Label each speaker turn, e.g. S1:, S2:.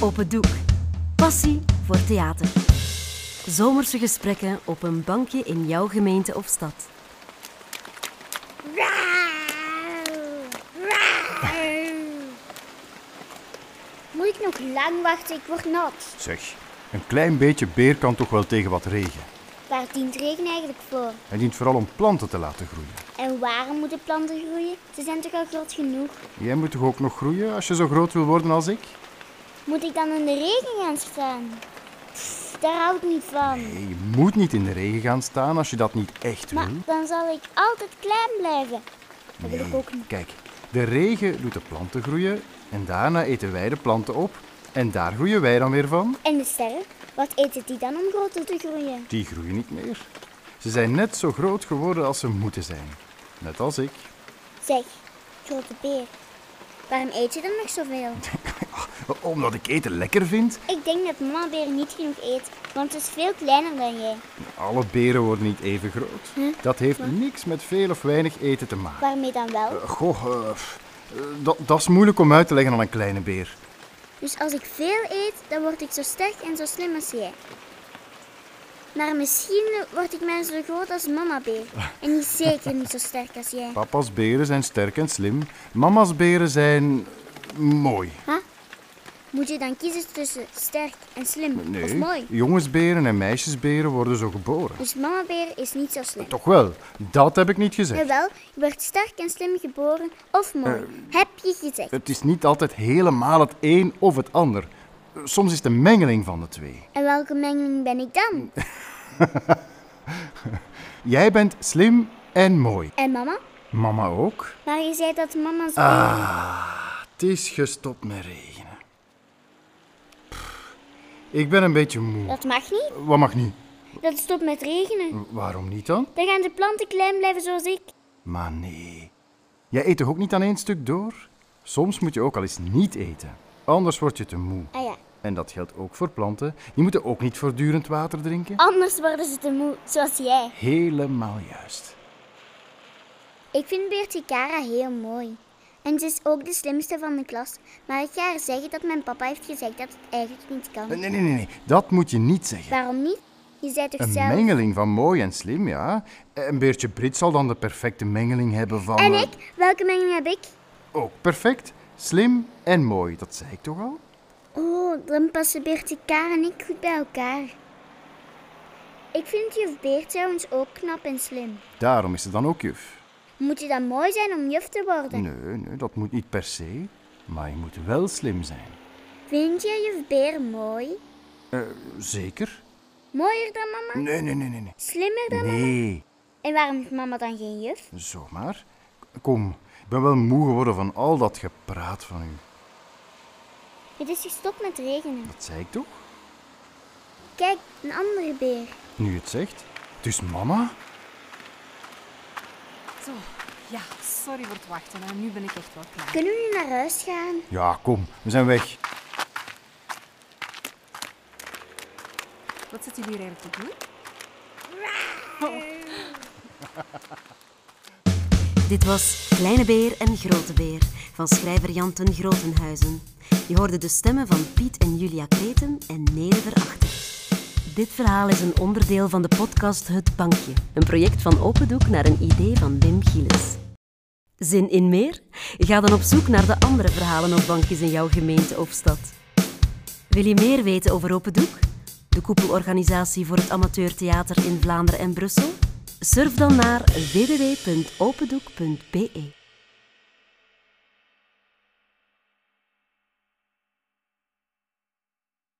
S1: Op het doek. Passie voor theater. Zomerse gesprekken op een bankje in jouw gemeente of stad.
S2: Moet ik nog lang wachten? Ik word nat.
S3: Zeg, een klein beetje beer kan toch wel tegen wat regen.
S2: Waar dient regen eigenlijk voor?
S3: Hij dient vooral om planten te laten groeien.
S2: En waarom moeten planten groeien? Ze zijn toch al groot genoeg?
S3: Jij moet toch ook nog groeien als je zo groot wil worden als ik?
S2: Moet ik dan in de regen gaan staan? Pff, daar hou ik niet van.
S3: Nee, je moet niet in de regen gaan staan als je dat niet echt
S2: Maar
S3: wil.
S2: dan zal ik altijd klein blijven. Dat wil ik ook niet.
S3: Kijk, de regen doet de planten groeien en daarna eten wij de planten op. En daar groeien wij dan weer van.
S2: En de sterren? Wat eten die dan om groter te groeien?
S3: Die groeien niet meer. Ze zijn net zo groot geworden als ze moeten zijn. Net als ik.
S2: Zeg, grote beer. Waarom eet je dan nog zoveel?
S3: Omdat ik eten lekker vind.
S2: Ik denk dat mama beer niet genoeg eet, want ze is veel kleiner dan jij.
S3: Alle beren worden niet even groot. Dat heeft niks met veel of weinig eten te maken.
S2: Waarmee dan wel?
S3: Goh, eh, pff, eh, dat, dat is moeilijk om uit te leggen aan een kleine beer.
S2: Dus als ik veel eet, dan word ik zo sterk en zo slim als jij. Maar misschien word ik maar zo groot als mama beer. En die is zeker niet zo sterk als jij.
S3: Papa's beren zijn sterk en slim. Mama's beren zijn mooi.
S2: Moet je dan kiezen tussen sterk en slim of
S3: Nee,
S2: mooi?
S3: jongensberen en meisjesberen worden zo geboren.
S2: Dus mama beer is niet zo slim.
S3: Toch wel, dat heb ik niet gezegd.
S2: Jawel, je wordt sterk en slim geboren of mooi. Heb je gezegd.
S3: Het is niet altijd helemaal het een of het ander. Eh, Soms is het een mengeling van de twee.
S2: En welke mengeling ben ik dan?
S3: Jij bent slim en mooi.
S2: En mama?
S3: Mama ook.
S2: Maar je zei dat mama zo...
S3: Het is gestopt met regenen. Pff, ik ben een beetje moe.
S2: Dat mag niet.
S3: Wat mag niet?
S2: Dat stopt met regenen.
S3: Waarom niet dan?
S2: Dan gaan de planten klein blijven zoals ik.
S3: Maar nee. Jij eet toch ook niet aan één stuk door? Soms moet je ook al eens niet eten. Anders word je te moe.
S2: Ah ja,
S3: En dat geldt ook voor planten. Die moeten ook niet voortdurend water drinken.
S2: anders worden ze te moe, zoals jij.
S3: Helemaal juist.
S2: Ik vind Beertje Kara heel mooi. En ze is ook de slimste van de klas. Maar ik ga haar zeggen dat mijn papa heeft gezegd dat het eigenlijk niet kan.
S3: Nee, nee, nee, nee. Dat moet je niet zeggen.
S2: Waarom niet? Je zei toch
S3: Een
S2: zelf...
S3: mengeling van mooi en slim, ja. Een beertje Brit zal dan de perfecte mengeling hebben van...
S2: En
S3: eh,
S2: ik? Welke mengeling heb ik?
S3: Ook perfect. Slim en mooi. Dat zei ik toch al?
S2: Oh, dan passen Beertje Kara en ik goed bij elkaar. Ik vind juf Beert trouwens ook knap en slim.
S3: Daarom is ze dan ook juf.
S2: Moet je dan mooi zijn om juf te worden?
S3: Nee, nee, dat moet niet per se. Maar je moet wel slim zijn.
S2: Vind je juf Beer mooi?
S3: Eh, zeker?
S2: Mooier dan mama?
S3: Nee, nee, nee, nee. nee.
S2: Slimmer dan mama?
S3: Nee,
S2: En waarom heeft mama dan geen juf?
S3: zomaar. Kom, ik ben wel moe geworden van al dat gepraat van u.
S2: Het is gestopt met regenen.
S3: Dat zei ik toch?
S2: Kijk, een andere beer.
S3: Nu je het zegt. Dus mama?
S1: Zo, ja, sorry voor het wachten. Hè. Nu ben ik echt wel klaar.
S2: Kunnen we nu naar huis gaan?
S3: Ja, kom, we zijn weg.
S1: Wat zit jullie hier eigenlijk te doen? Dit was Kleine Beer en Grote Beer van schrijver Jan ten Grotenhuizen. Je hoorde de stemmen van Piet en Julia Kreten en Nere Verachter. Dit verhaal is een onderdeel van de podcast Het Bankje. Een project van Opendoek naar een idee van Wim Gielis. Zin in meer? Ga dan op zoek naar de andere verhalen op bankjes in jouw gemeente of stad. Wil je meer weten over Open Doek? De koepelorganisatie voor het amateurtheater in Vlaanderen en Brussel? Surf dan naar www.opendoek.be.